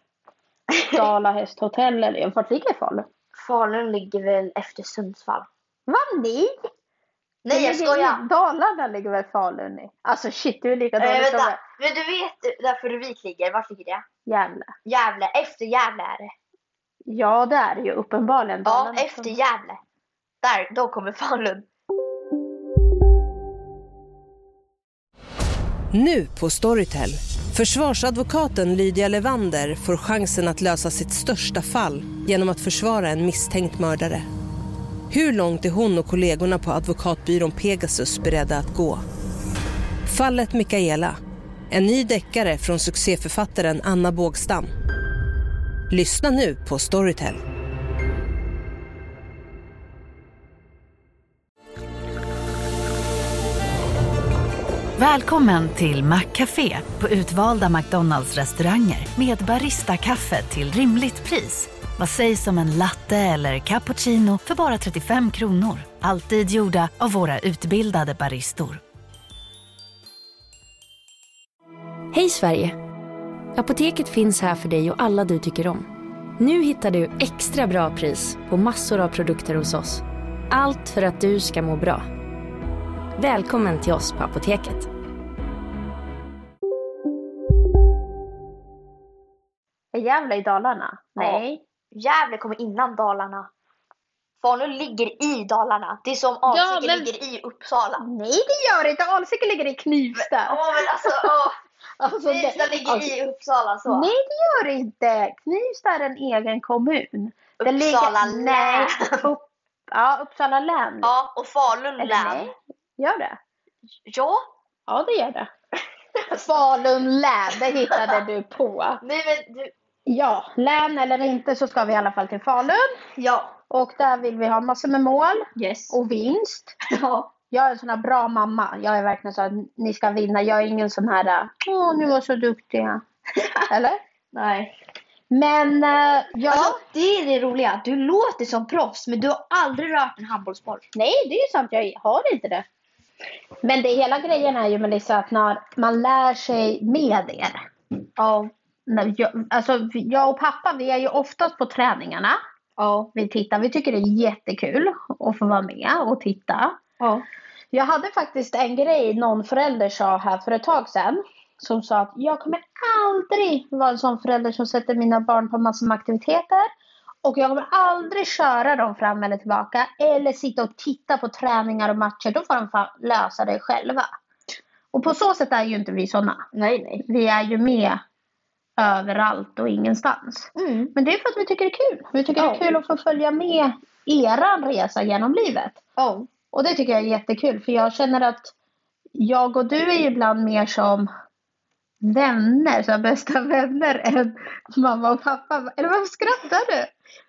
[SPEAKER 1] Dala hästhotell eller vart ligger Falun?
[SPEAKER 2] Falun ligger väl efter Sundsvall.
[SPEAKER 1] Vad ni?
[SPEAKER 2] Nej, jag skojar.
[SPEAKER 1] Dalarna ligger väl Falun i? Alltså shit, du är lika
[SPEAKER 2] Äh,
[SPEAKER 1] dålig som jag.
[SPEAKER 2] vänta, men du vet där Furuvik ligger? Vart ligger det?
[SPEAKER 1] Gävle.
[SPEAKER 2] Gävle. Efter Gävle är det.
[SPEAKER 1] Ja, det är det ju uppenbarligen.
[SPEAKER 2] Ja,
[SPEAKER 1] Dalarna
[SPEAKER 2] efter Gävle. Där, då kommer Falun.
[SPEAKER 3] Nu på Storytel. Försvarsadvokaten Lydia Levander får chansen att lösa sitt största fall genom att försvara en misstänkt mördare. Hur långt är hon och kollegorna på advokatbyrån Pegasus beredda att gå? Fallet Mikaela. En ny deckare från succéförfattaren Anna Bågstam. Lyssna nu på Storytel.
[SPEAKER 4] Välkommen till Maccafé på utvalda McDonalds restauranger med Baristakaffe till rimligt pris. Vad sägs om en latte eller cappuccino för bara 35 kronor? Alltid gjorda av våra utbildade baristor.
[SPEAKER 5] Hej Sverige! Apoteket finns här för dig och alla du tycker om. Nu hittar du extra bra pris på massor av produkter hos oss. Allt för att du ska må bra. Välkommen till oss på Apoteket.
[SPEAKER 1] Är Gävle i Dalarna? Nej.
[SPEAKER 2] Gävle kommer innan Dalarna. Falun ligger i Dalarna. Det är som Alsike
[SPEAKER 1] men-
[SPEAKER 2] ligger i Uppsala.
[SPEAKER 1] Nej, det gör det inte. Alsike ligger i Knivsta.
[SPEAKER 2] Ja men alltså, ja.
[SPEAKER 1] Alltså, det-
[SPEAKER 2] Knivsta ligger
[SPEAKER 1] alltså,
[SPEAKER 2] i Uppsala så.
[SPEAKER 1] Nej, det gör det inte. Knivsta är en egen kommun. Den
[SPEAKER 2] Uppsala
[SPEAKER 1] ligger,
[SPEAKER 2] län.
[SPEAKER 1] Nej, upp, ja, Uppsala län.
[SPEAKER 2] Ja, och Falun
[SPEAKER 1] Eller
[SPEAKER 2] län.
[SPEAKER 1] nej, gör det?
[SPEAKER 2] Ja.
[SPEAKER 1] Ja, det gör det. Falun län, det hittade du på.
[SPEAKER 2] Nej men du,
[SPEAKER 1] Ja, län eller inte så ska vi i alla fall till Falun.
[SPEAKER 2] ja.
[SPEAKER 1] Och där vill vi ha massor med mål
[SPEAKER 2] Yes.
[SPEAKER 1] och vinst.
[SPEAKER 2] Ja.
[SPEAKER 1] Jag är en sån här bra mamma. Jag är verkligen så att ni ska vinna. Jag är ingen sån här, åh, ni var så duktiga. Eller?
[SPEAKER 2] Nej.
[SPEAKER 1] Men eh, ja.
[SPEAKER 2] Alltså, det är det roliga. Du låter som proffs men du har aldrig rört en handbollsboll.
[SPEAKER 1] Nej, det är ju sant. Jag har inte det. Men det hela grejen är ju Melissa att när man lär sig med er.
[SPEAKER 2] Ja.
[SPEAKER 1] När jag, alltså, jag och pappa vi är ju oftast på träningarna.
[SPEAKER 2] Ja.
[SPEAKER 1] Vi tittar. Vi tycker det är jättekul att få vara med och titta.
[SPEAKER 2] Ja.
[SPEAKER 1] Jag hade faktiskt en grej någon förälder sa här för ett tag sedan. Som sa att jag kommer aldrig vara en sån förälder som sätter mina barn på massor med aktiviteter. Och jag kommer aldrig köra dem fram eller tillbaka. Eller sitta och titta på träningar och matcher. Då får de fan lösa det själva. Och på så sätt är ju inte vi sådana.
[SPEAKER 2] Nej nej.
[SPEAKER 1] Vi är ju med överallt och ingenstans.
[SPEAKER 2] Mm.
[SPEAKER 1] Men det är för att vi tycker det är kul. Vi tycker det
[SPEAKER 2] Ja.
[SPEAKER 1] är kul att få följa med eran resa genom livet.
[SPEAKER 2] Ja.
[SPEAKER 1] Och det tycker jag är jättekul för jag känner att jag och du är ju ibland mer som vänner, så här bästa vänner än mamma och pappa. Eller varför skrattar du?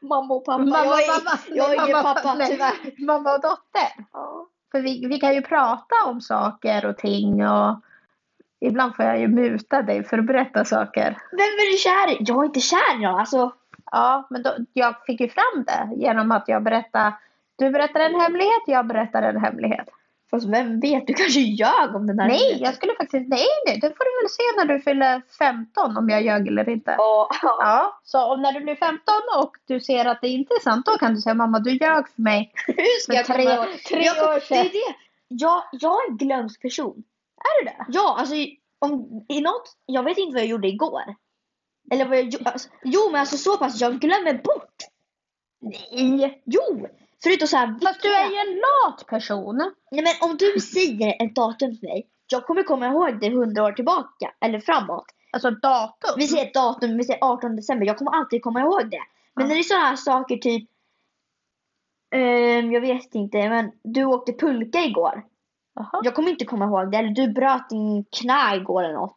[SPEAKER 2] Mamma och pappa.
[SPEAKER 1] Mamma
[SPEAKER 2] jag
[SPEAKER 1] och
[SPEAKER 2] är,
[SPEAKER 1] pappa.
[SPEAKER 2] Jag är
[SPEAKER 1] Nej,
[SPEAKER 2] ingen
[SPEAKER 1] mamma-
[SPEAKER 2] pappa
[SPEAKER 1] nej.
[SPEAKER 2] tyvärr.
[SPEAKER 1] Mamma och dotter.
[SPEAKER 2] Ja.
[SPEAKER 1] För vi, vi kan ju prata om saker och ting och ibland får jag ju muta dig för att berätta saker.
[SPEAKER 2] Vem är du kär i? Jag är inte kär i någon. Alltså,
[SPEAKER 1] Ja, men då, jag fick ju fram det genom att jag berättade. Du berättar en hemlighet, jag berättar en hemlighet.
[SPEAKER 2] fast vem vet, du kanske ljög om den här
[SPEAKER 1] Nej,
[SPEAKER 2] nyheten.
[SPEAKER 1] jag skulle faktiskt... Nej, nej, det får du väl se när du fyller 15 om jag ljög eller inte.
[SPEAKER 2] Ja.
[SPEAKER 1] Ja, så om när du blir 15 och du ser att det inte är sant, då kan du säga mamma, du ljög för mig.
[SPEAKER 2] Hur ska
[SPEAKER 1] Men
[SPEAKER 2] jag komma
[SPEAKER 1] tre-
[SPEAKER 2] ihåg?
[SPEAKER 1] tre
[SPEAKER 2] jag,
[SPEAKER 1] år
[SPEAKER 2] Det
[SPEAKER 1] sedan.
[SPEAKER 2] är det. Jag, jag är en glömsk person.
[SPEAKER 1] Är du det?
[SPEAKER 2] Ja, alltså om, i något, jag vet inte vad jag gjorde igår. Eller vad jag gjorde. Alltså, jo, men alltså så pass, jag glömmer bort. Nej. Jo, förutom så här.
[SPEAKER 1] Fast du är ju en lat person.
[SPEAKER 2] Nej, men om du säger ett datum till mig, jag kommer komma ihåg det hundra år tillbaka eller framåt.
[SPEAKER 1] Alltså datum.
[SPEAKER 2] Vi säger ett datum, vi säger 18 december. Jag kommer alltid komma ihåg det. Men
[SPEAKER 1] Ja.
[SPEAKER 2] när det är sådana här saker typ. ehm, jag vet inte, men du åkte pulka igår.
[SPEAKER 1] Jaha,
[SPEAKER 2] Jag kommer inte komma ihåg det. Eller du bröt din knä igår eller något.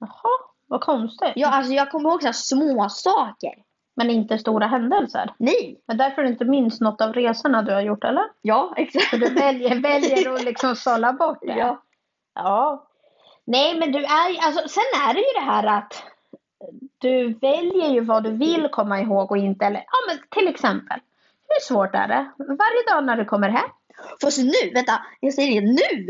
[SPEAKER 1] jaha vad konstigt.
[SPEAKER 2] Jag, alltså, jag kommer ihåg så här små saker.
[SPEAKER 1] Men inte stora händelser.
[SPEAKER 2] Nej.
[SPEAKER 1] Men därför du inte minns något av resorna du har gjort, eller?
[SPEAKER 2] Ja, exakt.
[SPEAKER 1] För du väljer, väljer att liksom sålla bort det.
[SPEAKER 2] Ja.
[SPEAKER 1] Ja. Nej, men du är ju- alltså, sen är det ju det här att du väljer ju vad du vill komma ihåg och inte. Eller, ja, men till exempel, hur svårt är det? Varje dag när du kommer hem,
[SPEAKER 2] Fast nu, vänta. Jag säger det, nu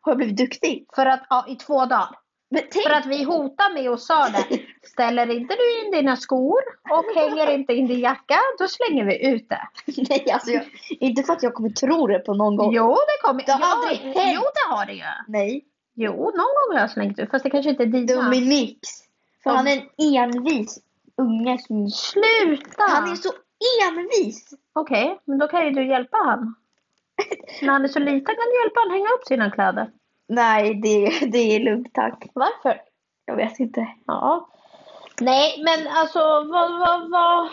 [SPEAKER 2] har jag blivit duktig.
[SPEAKER 1] för att, ja, i två dagar.
[SPEAKER 2] Men tänk,
[SPEAKER 1] För att vi hotar med och sa det. Ställer inte du in dina skor och hänger inte in din jacka, då slänger vi ut det.
[SPEAKER 2] nej alltså jag, inte för att jag kommer tro det på någon gång.
[SPEAKER 1] Jo, det kommer.
[SPEAKER 2] Det har
[SPEAKER 1] ja,
[SPEAKER 2] aldrig hänt.
[SPEAKER 1] Jo, det har det ju.
[SPEAKER 2] Nej.
[SPEAKER 1] Jo, någon gång har jag slängt ut, fast det kanske inte är dina.
[SPEAKER 2] Dominix. För
[SPEAKER 1] Ja.
[SPEAKER 2] han är en envis unge som...
[SPEAKER 1] Sluta!
[SPEAKER 2] Han är så envis!
[SPEAKER 1] Okej, men då kan ju du hjälpa han. När han är så liten kan du hjälpa han hänga upp sina kläder.
[SPEAKER 2] Nej, det, det är lugnt tack.
[SPEAKER 1] Varför?
[SPEAKER 2] Jag vet inte.
[SPEAKER 1] Ja. Nej, men alltså vad, vad, vad...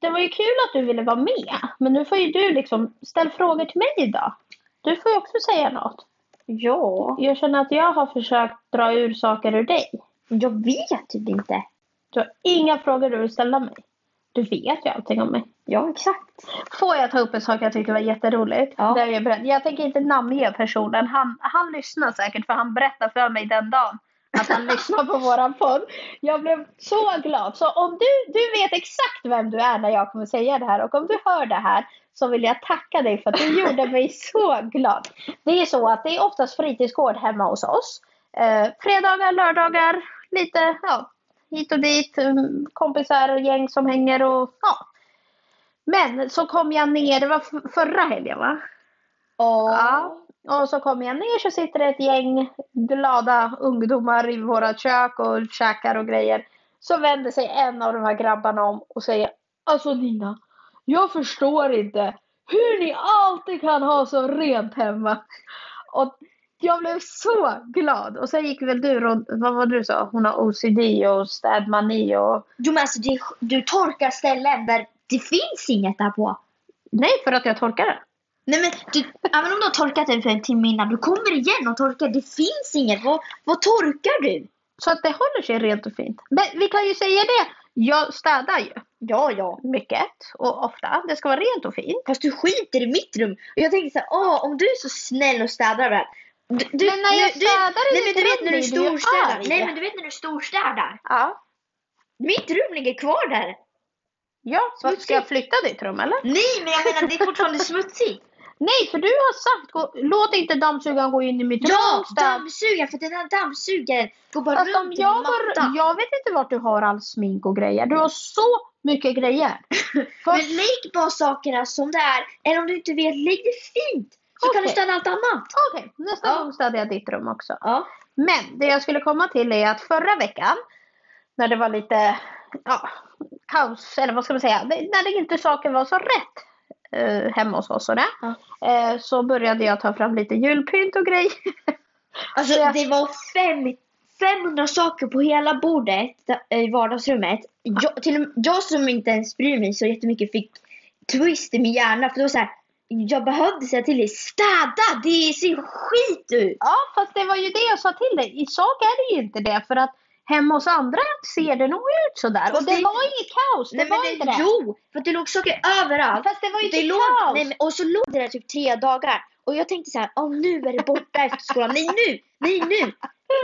[SPEAKER 1] Det var ju kul att du ville vara med. Men nu får ju du liksom, ställ frågor till mig idag. Du får ju också säga något.
[SPEAKER 2] Ja.
[SPEAKER 1] Jag känner att jag har försökt dra ur saker ur dig.
[SPEAKER 2] Jag vet typ inte.
[SPEAKER 1] Du har inga frågor du vill ställa mig. Du vet ju allting om mig. Ja, exakt. Får jag ta upp en sak jag tyckte var jätteroligt?
[SPEAKER 2] Ja.
[SPEAKER 1] Där jag, berätt- jag tänker inte namnge personen. Han, han lyssnar säkert för han berättar för mig den dagen att han lyssnar på våran podd. Jag blev så glad. Så om du, du vet exakt vem du är när jag kommer säga det här och om du hör det här så vill jag tacka dig för att du gjorde mig så glad. Det är så att det är oftast fritidsgård hemma hos oss. Eh, fredagar, lördagar, lite ja, hit och dit, mm, kompisar, gäng som hänger och ja. Men så kom jag ner, det var f- förra helgen va?
[SPEAKER 2] Och,
[SPEAKER 1] Ja. Och så kommer jag ner så sitter det ett gäng glada ungdomar i våra kök och käkar och grejer. Så vänder sig en av de här grabbarna om och säger Alltså Nina, jag förstår inte hur ni alltid kan ha så rent hemma. Och jag blev så glad. Och sen gick väl du runt, vad var du sa? Hon har OCD och städmani och...
[SPEAKER 2] Jo men alltså det, du torkar ställen där det finns inget där på.
[SPEAKER 1] Nej, för att jag torkar det.
[SPEAKER 2] Nej men du, även om du har torkat den för en timme innan, du kommer igen och torkar. Det finns inget. Vad, vad torkar du?
[SPEAKER 1] Så att det håller sig rent och fint. Men vi kan ju säga det, jag städar ju. Ja, ja. Mycket och ofta. Det ska vara rent och fint.
[SPEAKER 2] Fast du skiter i mitt rum. Och jag tänkte så här, åh om du är så snäll och städar överallt. Du, du,
[SPEAKER 1] Men när jag
[SPEAKER 2] du-
[SPEAKER 1] städar i
[SPEAKER 2] nej, men
[SPEAKER 1] ditt
[SPEAKER 2] du vet
[SPEAKER 1] rum
[SPEAKER 2] när du
[SPEAKER 1] blir du ju
[SPEAKER 2] storstädar.
[SPEAKER 1] arg.
[SPEAKER 2] Nej men du vet när du storstädar.
[SPEAKER 1] Ja.
[SPEAKER 2] Mitt rum ligger kvar där.
[SPEAKER 1] Ja,
[SPEAKER 2] Smutsigt.
[SPEAKER 1] ska jag flytta ditt rum eller?
[SPEAKER 2] Nej men jag menar det är fortfarande smutsigt.
[SPEAKER 1] Nej, för du har sagt gå, låt inte dammsugaren gå in i mitt
[SPEAKER 2] Ja,
[SPEAKER 1] rum. städ-
[SPEAKER 2] dammsugaren. För den här dammsugaren går bara
[SPEAKER 1] Fast om
[SPEAKER 2] runt i
[SPEAKER 1] jag,
[SPEAKER 2] en
[SPEAKER 1] var,
[SPEAKER 2] matta.
[SPEAKER 1] jag vet inte vart du har all smink och grejer. Du har så mycket grejer.
[SPEAKER 2] Men
[SPEAKER 1] Först,
[SPEAKER 2] lägg bara sakerna som det är. Eller om du inte vet, lägg det fint. Så kan du
[SPEAKER 1] Okej.
[SPEAKER 2] städa allt annat.
[SPEAKER 1] Okej, nästa
[SPEAKER 2] Ja.
[SPEAKER 1] gång städar jag ditt rum också.
[SPEAKER 2] Ja.
[SPEAKER 1] Men det jag skulle komma till är att förra veckan när det var lite ja, kaos, eller vad ska man säga, det- när det inte saker var så rätt eh, hemma hos oss och det,
[SPEAKER 2] Ja.
[SPEAKER 1] eh, så började jag ta fram lite julpynt och grejer.
[SPEAKER 2] Alltså
[SPEAKER 1] Så jag-
[SPEAKER 2] det var fem, 500 saker på hela bordet eh, i vardagsrummet. Jag, till och med, jag som inte ens bryr mig så jättemycket fick twist i min hjärna. För det var så här, jag behövde säga till dig, städa! Det ser skit ut!
[SPEAKER 1] Ja, fast det var ju det jag sa till dig. I sak är det ju inte det, för att hemma hos andra ser det nog ut sådär. Och
[SPEAKER 2] Fast
[SPEAKER 1] det
[SPEAKER 2] det-
[SPEAKER 1] var inget kaos, det
[SPEAKER 2] Nej,
[SPEAKER 1] var
[SPEAKER 2] men
[SPEAKER 1] inte
[SPEAKER 2] det,
[SPEAKER 1] det.
[SPEAKER 2] Jo! För att det låg saker överallt.
[SPEAKER 1] Fast det var ju
[SPEAKER 2] det
[SPEAKER 1] inte
[SPEAKER 2] låg,
[SPEAKER 1] kaos.
[SPEAKER 2] nej, men, och så låg det där typ tre dagar. Och jag tänkte så här, åh nu är det borta efter skolan. Nej nu! Nej nu!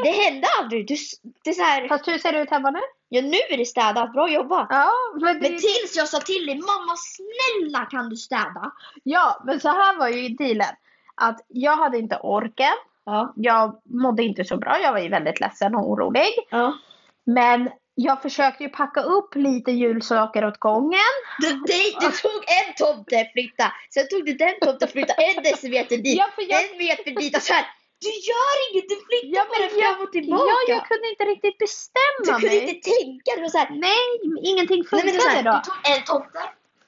[SPEAKER 2] Det hände aldrig. Du, s- det är så här,
[SPEAKER 1] Fast hur ser det ut hemma nu?
[SPEAKER 2] ja, nu är det städat, bra jobbat.
[SPEAKER 1] Ja, men det,
[SPEAKER 2] Men tills jag sa till dig, mamma snälla kan du städa?
[SPEAKER 1] ja, men så här var ju dealen. Att jag hade inte orken.
[SPEAKER 2] Ja.
[SPEAKER 1] Jag mådde inte så bra, jag var ju väldigt ledsen och orolig.
[SPEAKER 2] ja.
[SPEAKER 1] Men jag försökte ju packa upp lite julsaker åt gången. Alltså-
[SPEAKER 2] Du, dig- du tog en tomteflytta, sen tog du den tomteflyttan en decimeter dit,
[SPEAKER 1] Ja, för jag-
[SPEAKER 2] en meter dit och så här. Du gör inget, du flyttar
[SPEAKER 1] Ja, men
[SPEAKER 2] bara
[SPEAKER 1] jag-
[SPEAKER 2] fram och tillbaka.
[SPEAKER 1] Ja, jag kunde inte riktigt
[SPEAKER 2] du
[SPEAKER 1] bestämma
[SPEAKER 2] kunde
[SPEAKER 1] mig.
[SPEAKER 2] inte tänka, du var så här.
[SPEAKER 1] Nej, ingenting
[SPEAKER 2] Nej, men det var så
[SPEAKER 1] funkade
[SPEAKER 2] här,
[SPEAKER 1] då.
[SPEAKER 2] du tog en tomte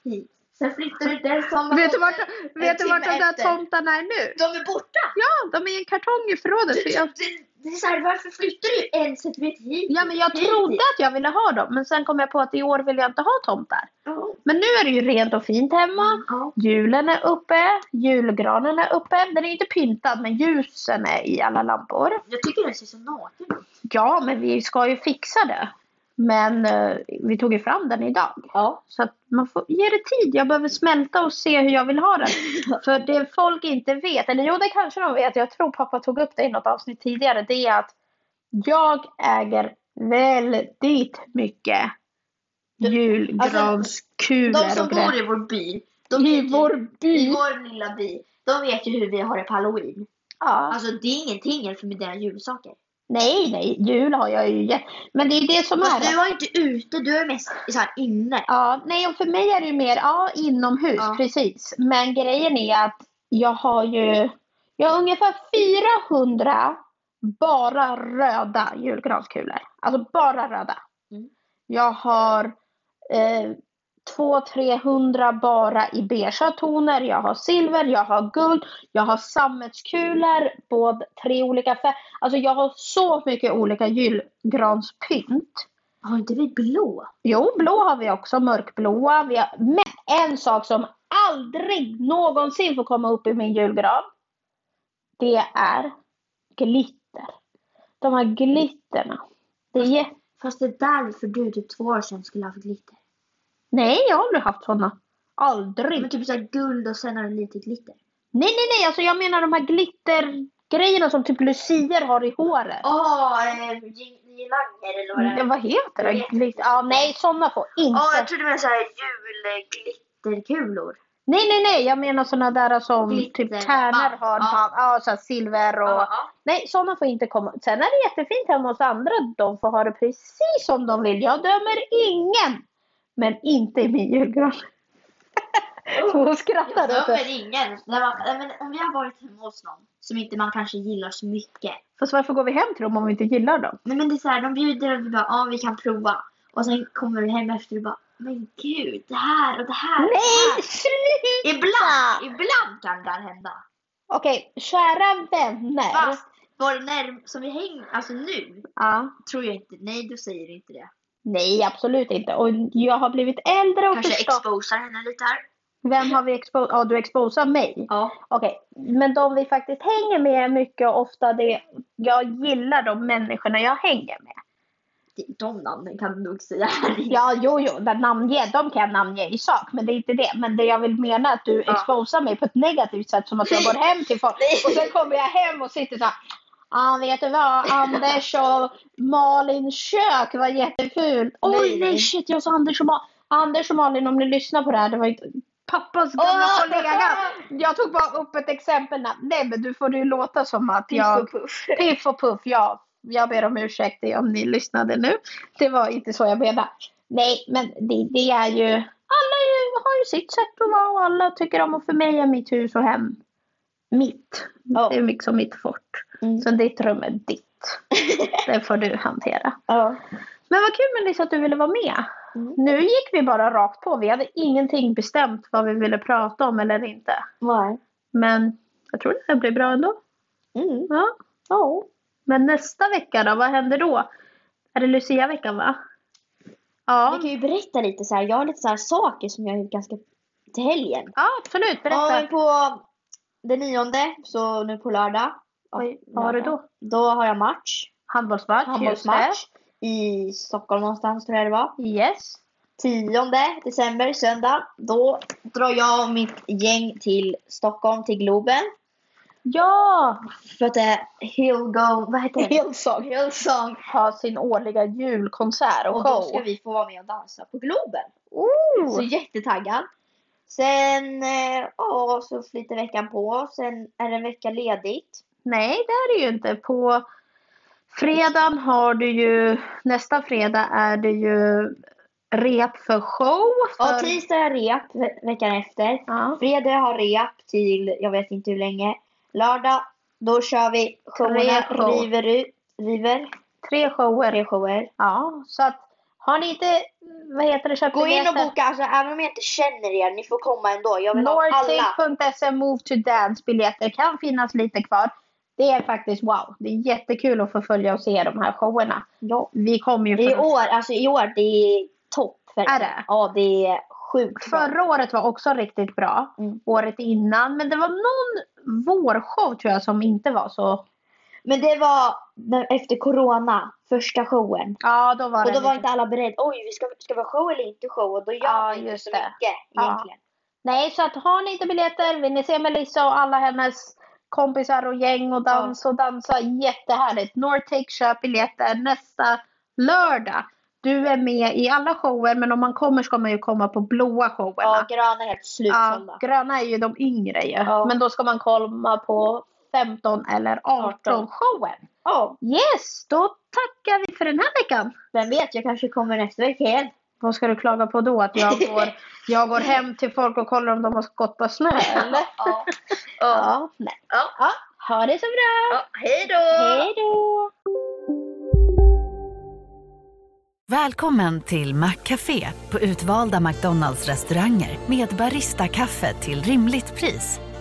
[SPEAKER 2] hit, sen flyttade du den samma
[SPEAKER 1] Vet du
[SPEAKER 2] tomte.
[SPEAKER 1] vart, vet du
[SPEAKER 2] timme
[SPEAKER 1] vart de där
[SPEAKER 2] efter.
[SPEAKER 1] tomtarna är nu?
[SPEAKER 2] De är borta!
[SPEAKER 1] Ja, de är i en kartong i förrådet.
[SPEAKER 2] Du,
[SPEAKER 1] För
[SPEAKER 2] du,
[SPEAKER 1] jag,
[SPEAKER 2] du, det är så här, varför flyttar du en centimeter hit?
[SPEAKER 1] ja, men jag
[SPEAKER 2] hit,
[SPEAKER 1] trodde
[SPEAKER 2] hit?
[SPEAKER 1] att jag ville ha dem, men sen kom jag på att i år vill jag inte ha tomtar.
[SPEAKER 2] Ja. Mm.
[SPEAKER 1] Men nu är det ju rent och fint hemma.
[SPEAKER 2] Ja.
[SPEAKER 1] Julen är uppe, julgranen är uppe. Den är inte pyntad, men ljusen är i alla lampor.
[SPEAKER 2] Jag tycker den ser så naken ut.
[SPEAKER 1] Ja, men vi ska ju fixa det. Men eh, vi tog ju fram den idag.
[SPEAKER 2] Ja.
[SPEAKER 1] Så att man får ge det tid. Jag behöver smälta och se hur jag vill ha den. För det folk inte vet, eller jo det kanske de vet, jag tror pappa tog upp det i något avsnitt tidigare, det är att jag äger väldigt mycket julgranskulor
[SPEAKER 2] alltså, De som
[SPEAKER 1] och grejer.
[SPEAKER 2] bor i vår by, de vet
[SPEAKER 1] I
[SPEAKER 2] ju-
[SPEAKER 1] vår by.
[SPEAKER 2] i vår lilla by, de vet ju hur vi har det på halloween.
[SPEAKER 1] Ja.
[SPEAKER 2] Alltså det är ingenting jämfört med dina julsaker.
[SPEAKER 1] Nej, nej, jul har jag ju. gett. Men det är ju det som är
[SPEAKER 2] Fast
[SPEAKER 1] det.
[SPEAKER 2] Alltså, du var inte ute, du är mest så här inne.
[SPEAKER 1] Ja, nej, och för mig är det ju mer ja, inomhus,
[SPEAKER 2] Ja.
[SPEAKER 1] precis. Men grejen är att jag har ju jag har ungefär 400 bara röda julgranskulor. Alltså bara röda.
[SPEAKER 2] Mm.
[SPEAKER 1] Jag har eh, 200-300 bara i beiga toner. Jag har silver, jag har guld, jag har sammetskulor, både tre olika färger. Alltså jag har så mycket olika julgranspynt.
[SPEAKER 2] Har inte vi blå?
[SPEAKER 1] Jo, blå har vi också, mörkblåa. Vi har... Men en sak som aldrig någonsin får komma upp i min julgran, det är glitter. De här glitterna. Det är... jä-
[SPEAKER 2] Alltså- Fast det är därför du typ två år sedan skulle ha haft glitter.
[SPEAKER 1] Nej, jag har aldrig haft såna. Aldrig.
[SPEAKER 2] Men typ såhär guld och sen har den lite glitter.
[SPEAKER 1] Nej, nej, nej. Alltså jag menar de här glittergrejerna som typ lucier har i håret.
[SPEAKER 2] Åh, eh, girlanger eller vad det
[SPEAKER 1] Ja,
[SPEAKER 2] är.
[SPEAKER 1] Mm, vad heter det?
[SPEAKER 2] Jag vet
[SPEAKER 1] Glitter. Ja, nej, såna får inte.
[SPEAKER 2] Åh, jag trodde det var såhär julglitterkulor.
[SPEAKER 1] Nej, nej, nej. Jag menar såna där som
[SPEAKER 2] Glitter.
[SPEAKER 1] typ tärnor har.
[SPEAKER 2] Ja.
[SPEAKER 1] Ja, så här silver och...
[SPEAKER 2] Ja, ja.
[SPEAKER 1] Nej, såna får inte komma. Sen är det jättefint hemma hos andra. De får ha det precis som de vill. Jag dömer ingen. Men inte i min julgran. Så hon skrattar
[SPEAKER 2] Jag
[SPEAKER 1] åt det.
[SPEAKER 2] dömer ingen. När man, nej, men om vi har varit hemma hos någon som inte man kanske gillar så mycket.
[SPEAKER 1] Fast varför går vi hem till dem om vi inte gillar dem?
[SPEAKER 2] Nej men det är såhär, de bjuder och vi bara ja vi kan prova. Och sen kommer vi hem efter och bara men gud det här och det här. och det
[SPEAKER 1] Nej,
[SPEAKER 2] här."
[SPEAKER 1] sluta!
[SPEAKER 2] Ibland, ibland kan det här hända.
[SPEAKER 1] Ah. Okej, kära vänner.
[SPEAKER 2] Fast var det när, som vi hänger, alltså nu
[SPEAKER 1] Ja.
[SPEAKER 2] tror jag inte, nej du säger inte det.
[SPEAKER 1] Nej, absolut inte. Och jag har blivit äldre och
[SPEAKER 2] Kanske
[SPEAKER 1] förstått.
[SPEAKER 2] exposar henne lite här.
[SPEAKER 1] Vem har vi exposat? Ja, du exposar mig.
[SPEAKER 2] Ja.
[SPEAKER 1] Okej, men de vi faktiskt hänger med mycket och ofta det jag gillar de människorna jag hänger med.
[SPEAKER 2] De namnen kan du nog säga här inne.
[SPEAKER 1] Ja, jo, jo, där namnge, de kan jag namnge i sak, men det är inte det. Men det jag vill mena är att du
[SPEAKER 2] Ja.
[SPEAKER 1] exposar mig på ett negativt sätt, som att jag
[SPEAKER 2] Nej.
[SPEAKER 1] går hem till folk
[SPEAKER 2] Nej.
[SPEAKER 1] och sen kommer jag hem och sitter så här. Ja, vet du vad? Anders och Malin kök var jätteful. Oj,
[SPEAKER 2] Nej,
[SPEAKER 1] nej,
[SPEAKER 2] nej.
[SPEAKER 1] shit, jag sa Anders och, Ma- Anders och Malin, om ni lyssnar på det här, det var ju pappas gamla
[SPEAKER 2] Åh!
[SPEAKER 1] kollega. Jag tog bara upp ett exempel. där. Nej, men du får det ju låta som att
[SPEAKER 2] Piff
[SPEAKER 1] jag...
[SPEAKER 2] och puff.
[SPEAKER 1] Piff och Puff, ja. Jag ber om ursäkt om ni lyssnade nu. Det var inte så jag menade. Nej, men det, det är ju... Alla är ju, har ju sitt sätt att vara och alla tycker om och för mig är mitt hus och hem mitt. Det är liksom mitt fort.
[SPEAKER 2] Mm.
[SPEAKER 1] Så ditt rum är ditt. Det får du hantera.
[SPEAKER 2] Ja.
[SPEAKER 1] Men vad kul Melissa att du ville vara med.
[SPEAKER 2] Mm.
[SPEAKER 1] Nu gick vi bara rakt på. Vi hade ingenting bestämt vad vi ville prata om eller inte.
[SPEAKER 2] Var?
[SPEAKER 1] Men jag tror det här blir bra ändå.
[SPEAKER 2] Mm.
[SPEAKER 1] Ja.
[SPEAKER 2] Ja.
[SPEAKER 1] Men nästa vecka då, vad händer då? Är det Lucia-veckan va?
[SPEAKER 2] Vi
[SPEAKER 1] Ja,
[SPEAKER 2] kan ju berätta lite så här. jag har lite så här saker som jag har gjort ganska till helgen.
[SPEAKER 1] ja absolut.
[SPEAKER 2] Ja,
[SPEAKER 1] Berätta.
[SPEAKER 2] men på den nionde, så nu på lördag. Ja,
[SPEAKER 1] Oj, vad har du
[SPEAKER 2] lördag.
[SPEAKER 1] då?
[SPEAKER 2] Då har jag match.
[SPEAKER 1] Handbollsmatch.
[SPEAKER 2] Handbollsmatch. I Stockholm någonstans tror jag det var.
[SPEAKER 1] just det. Yes.
[SPEAKER 2] 10 december, söndag. Då drar jag och mitt gäng till Stockholm, till Globen.
[SPEAKER 1] Ja!
[SPEAKER 2] För att det är Hillgo, vad heter det?
[SPEAKER 1] Hillsong
[SPEAKER 2] Hillsong.
[SPEAKER 1] har sin årliga julkonsert och,
[SPEAKER 2] Och då
[SPEAKER 1] show.
[SPEAKER 2] ska vi få vara med och dansa på Globen.
[SPEAKER 1] Oh!
[SPEAKER 2] Så jättetaggad. Sen, eh, ja, så flyter veckan på. Sen är det en vecka ledigt.
[SPEAKER 1] Nej, det är det ju inte. På fredagen har du ju, nästa fredag är det ju rep för show.
[SPEAKER 2] Ja,
[SPEAKER 1] För,
[SPEAKER 2] tisdag är rep ve- veckan efter.
[SPEAKER 1] ja.
[SPEAKER 2] Fredag har rep till jag vet inte hur länge. Lördag, då kör vi showerna,
[SPEAKER 1] Tre show.
[SPEAKER 2] river ut, river,
[SPEAKER 1] Tre shower.
[SPEAKER 2] tre shower.
[SPEAKER 1] Ja, så att har ni inte, vad heter det, köpt
[SPEAKER 2] Gå in och
[SPEAKER 1] biljetter?
[SPEAKER 2] boka, alltså, även om jag inte känner er, ni får komma ändå. Jag vill ha alla.
[SPEAKER 1] Nordic.se Move to Dance biljetter kan finnas lite kvar. Det är faktiskt wow. Det är jättekul att få följa och se de här showerna.
[SPEAKER 2] Ja.
[SPEAKER 1] Vi kommer ju
[SPEAKER 2] I
[SPEAKER 1] för...
[SPEAKER 2] år, alltså i år, det är topp. verkligen.
[SPEAKER 1] Är det?
[SPEAKER 2] Ja, det är sjukt bra.
[SPEAKER 1] Förra året var också riktigt bra.
[SPEAKER 2] Mm.
[SPEAKER 1] Året innan. Men det var någon vårshow tror jag som inte var så.
[SPEAKER 2] Men det var när- efter corona, första showen.
[SPEAKER 1] Ja, då var
[SPEAKER 2] Och
[SPEAKER 1] det
[SPEAKER 2] då var
[SPEAKER 1] lite-
[SPEAKER 2] inte alla beredda. Oj, vi ska, ska vi ha show eller inte show? Och då gör
[SPEAKER 1] Ja,
[SPEAKER 2] man inte
[SPEAKER 1] just
[SPEAKER 2] så
[SPEAKER 1] det.
[SPEAKER 2] mycket
[SPEAKER 1] Ja.
[SPEAKER 2] egentligen.
[SPEAKER 1] Nej, så att har ni inte biljetter, vill ni se Melissa och alla hennes kompisar och gäng och dans och dansa, jättehärligt. Nortake köp biljetter nästa lördag. Du är med i alla shower, men om man kommer ska man ju komma på blåa
[SPEAKER 2] Ja,
[SPEAKER 1] showerna.
[SPEAKER 2] gröna är helt slutsålda.
[SPEAKER 1] gröna är ju de yngre ju,
[SPEAKER 2] Ja.
[SPEAKER 1] men då ska man komma på 15 eller 18
[SPEAKER 2] 18.
[SPEAKER 1] showen.
[SPEAKER 2] Ja,
[SPEAKER 1] Yes, då tackar vi för den här veckan.
[SPEAKER 2] vem vet, jag kanske kommer nästa vecka igen.
[SPEAKER 1] Vad ska du klaga på då? Att jag går, jag går hem till folk och kollar om de har skott på snö eller?
[SPEAKER 2] Ja.
[SPEAKER 1] Ja, nej. Ja. Ha det så bra!
[SPEAKER 2] Ja, hej då!
[SPEAKER 1] Hej då!
[SPEAKER 4] Välkommen till Maccafé på utvalda McDonalds restauranger med Baristakaffe till rimligt pris.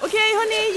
[SPEAKER 6] Okej hörni,